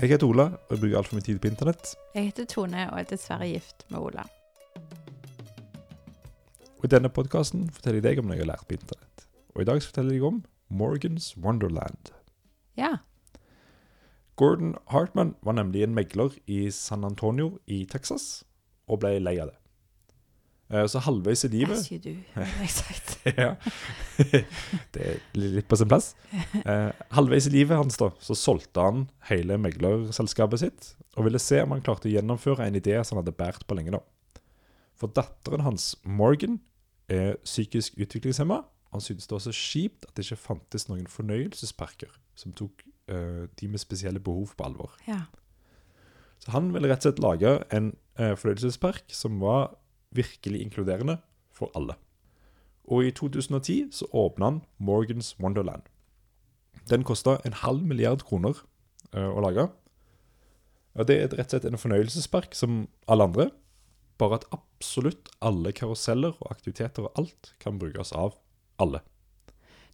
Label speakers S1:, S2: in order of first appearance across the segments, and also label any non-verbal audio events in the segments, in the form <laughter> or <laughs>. S1: Jeg heter Ola, og jeg bruker altfor mye tid på internett.
S2: Jeg heter Tone og er dessverre gift med Ola.
S1: Og I denne podkasten forteller jeg deg om noe jeg har lært på internett. Og i dag skal jeg fortelle deg om Morgans Wonderland.
S2: Ja.
S1: Gordon Hartman var nemlig en megler i San Antonio i Texas, og ble lei av det. Eh, Så halvveis i livet
S2: Jeg sier du, <laughs> ville jeg sagt.
S1: <laughs> ja. Det er litt på sin plass. Eh, halvveis i livet hans da, så solgte han hele meglerselskapet sitt, og ville se om han klarte å gjennomføre en idé som han hadde bært på lenge nå. For datteren hans, Morgan, er psykisk utviklingshemma. Han syntes det var så kjipt at det ikke fantes noen fornøyelsesparker som tok eh, de med spesielle behov på alvor.
S2: Ja.
S1: Så han ville rett og slett lage en eh, fornøyelsespark som var virkelig inkluderende for alle. Og i 2010 så åpna han Morgans Wonderland. Den kosta en halv milliard kroner eh, å lage. Og det er rett og slett en fornøyelsespark som alle andre, bare at absolutt alle karuseller og aktiviteter og alt kan brukes av alle.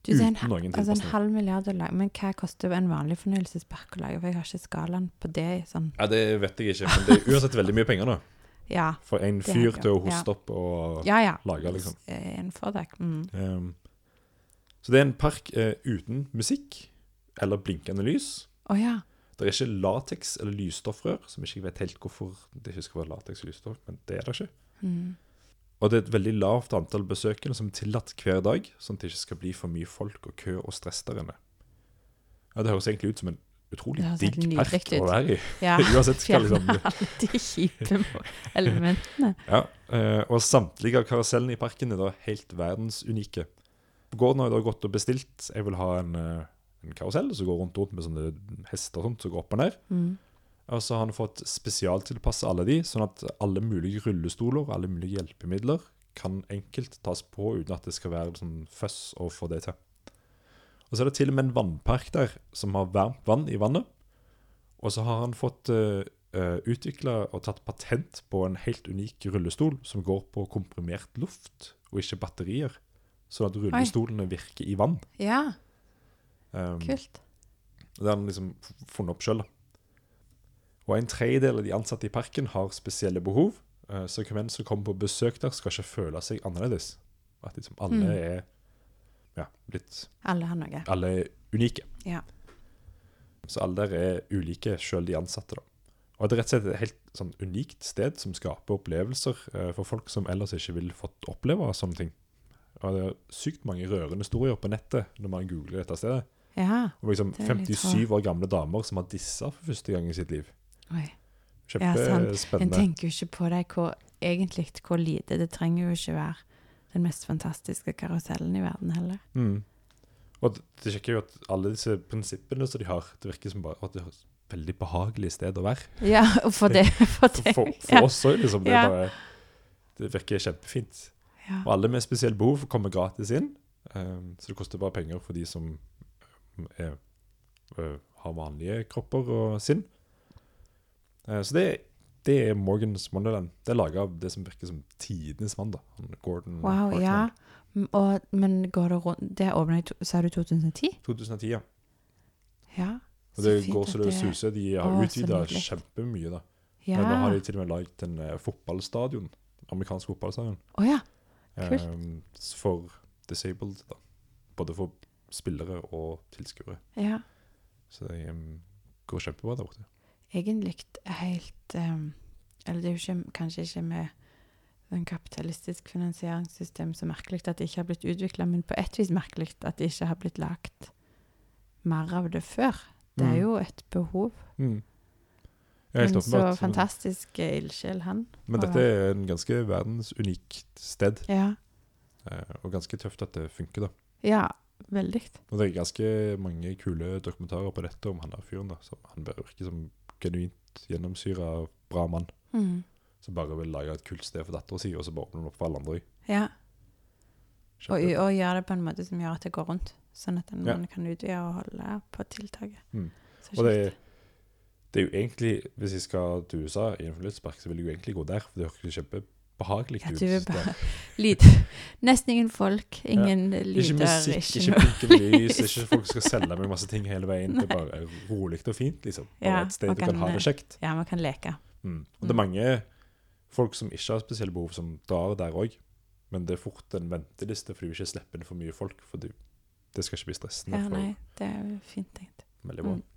S2: Du, det er en,
S1: Uten noen
S2: altså en
S1: tilpasning.
S2: halv milliard å lage, men hva koster en vanlig fornøyelsespark å lage? For jeg har ikke skalaen på det. Sånn.
S1: Ja, Det vet jeg ikke, men det er uansett veldig mye penger, da.
S2: Ja,
S1: For en
S2: Det er
S1: fyr
S2: det,
S1: til å
S2: ja.
S1: hoste opp og
S2: ja. ja.
S1: lage, liksom.
S2: Eh, En foretak. Mm.
S1: Ehm, så det er en park eh, uten musikk eller blinkende lys.
S2: Å ja.
S1: Det er ikke lateks eller lysstoffrør, som ikke jeg vet helt hvorfor det ikke skal være lateks og lysstoff, men det er det ikke.
S2: Mm.
S1: Og det er et veldig lavt antall besøkende som er tillatt hver dag, sånn at det ikke skal bli for mye folk og kø og stress der inne. Ja, det høres egentlig ut som en utrolig
S2: Det høres helt
S1: digg park
S2: nydelig ut.
S1: å være i. <laughs>
S2: ja.
S1: Uansett hva liksom
S2: Fjerne <laughs> alle de kjipe elementene.
S1: Ja, eh, og samtlige av karusellene i parken er da helt verdensunike. Gården har jeg da gått og bestilt. Jeg vil ha en, eh, en karusell som går rundt og rundt med sånne hester og sånt som går opp og ned.
S2: Mm.
S1: Og så har han fått spesialtilpassa alle de, sånn at alle mulige rullestoler og alle mulige hjelpemidler kan enkelt tas på uten at det skal være sånn føss å få det til. Og så er det til og med en vannpark der som har varmt vann i vannet. Og så har han fått uh, utvikla og tatt patent på en helt unik rullestol som går på komprimert luft og ikke batterier, sånn at rullestolene virker i vann.
S2: Ja,
S1: Um,
S2: kult.
S1: og Det har han liksom f- funnet opp sjøl. Og en tredjedel av de ansatte i parken har spesielle behov, eh, så hvem enn som kommer på besøk der, skal ikke føle seg annerledes. At liksom alle
S2: Mm.
S1: er ja, litt
S2: Alle har noe.
S1: Alle er unike.
S2: Ja.
S1: Så alle der er ulike, sjøl de ansatte, da. Og det er rett og slett et helt sånn unikt sted som skaper opplevelser eh, for folk som ellers ikke ville fått oppleve sånne ting. Og det er sykt mange rørende historier på nettet når man googler dette stedet.
S2: Ja.
S1: Og liksom
S2: Det er litt
S1: 57 år gamle damer som har dissa for første gang i sitt liv.
S2: Oi. Ja, sant. En
S1: Kjempespennende.
S2: tenker jo ikke på det hvor, egentlig hvor lite det trenger jo ikke være den mest fantastiske karusellen i verden heller.
S1: mm. Og det- det sjekker jo at alle disse prinsippene som de har, det virker som bare at det er et veldig behagelig sted å være.
S2: Ja, og
S1: <laughs>
S2: for det. For <laughs>
S1: For,
S2: det.
S1: for, for
S2: ja.
S1: oss òg, liksom. Det, er
S2: Ja.
S1: bare, det virker kjempefint.
S2: Ja.
S1: Og alle med spesielle behov kommer gratis inn, ehm, så det koster bare penger for de som mm, er, øh, har vanlige kropper og sinn. Eh, så det, det er Morgans Wonderland. Det er laga av det som virker som tidenes mann, da. Han Gordon
S2: Wow,
S1: Hartman.
S2: ja. M- Og, men går det rundt Det åpna i to- Sa du 2010?
S1: 2010, ja.
S2: Ja.
S1: Og det
S2: fint
S1: går
S2: at
S1: så det suser. De har
S2: Å, så
S1: utvida
S2: nydelig.
S1: kjempemye, da.
S2: Ja.
S1: Men nå har de
S2: Å
S1: til og med lagd en eh, fotballstadion. Amerikansk fotballstadion.
S2: ja. Kult.
S1: ehm, for disabled, da. Både for spillere og tilskuere.
S2: ja.
S1: Så det um, går kjempebra der borte.
S2: Egentlig helt ehm, Eller det er jo ikke, kanskje ikke med den kapitalistisk finansieringssystem så merkelig at det ikke har blitt utvikla, men på et vis merkelig at det ikke har blitt lagt mer av det før. Det er jo et behov.
S1: Mm. Ja, helt
S2: Men så
S1: åpenbart.
S2: fantastisk eh, ildsjel han.
S1: um, Men dette er en ganske verdensunikt sted,
S2: Ja.
S1: eh, og ganske tøft at det funker, da.
S2: ja veldig.
S1: Og det er ganske mange kule dokumentarer på dette om han der fyren, da. Så han bare virker som genuint gjennomsyra bra mann
S2: Mm.
S1: som bare vil lage et kult sted for dattera si, og så bare åpner han opp for alle andre òg.
S2: Ja. Og, og gjøre det på en måte som gjør at det går rundt, sånn at en-
S1: Ja.
S2: man kan utvide og holde på tiltaket.
S1: Mm.
S2: Så
S1: Og det,
S2: kjekt.
S1: det er jo egentlig, hvis jeg skal til USA i en fornøyelsespark, så vil jeg jo egentlig gå der, for det høres jo kjempebra behagelig
S2: Ja,
S1: ut.
S2: du er
S1: synes jeg.
S2: Lyd. Nesten ingen folk, ingen lyder,
S1: Ikke musikk, ikke
S2: noe.
S1: blinkende lys,
S2: lys.
S1: ikke folk skal selge meg masse ting hele veien. Det er bare rolig og fint, liksom. Bare
S2: Ja,
S1: et sted
S2: og
S1: du kan ha
S2: kan-
S1: det kjekt.
S2: Ja, man kan leke.
S1: Mm. Og det er mange folk som ikke har spesielle behov, som drar der òg. Men det er fort en venteliste, for du vil ikke slippe inn for mye folk. For du, det skal ikke bli stressende.
S2: Ja,
S1: for
S2: nei, det er fint tenkt.
S1: Veldig bra.
S2: Mm.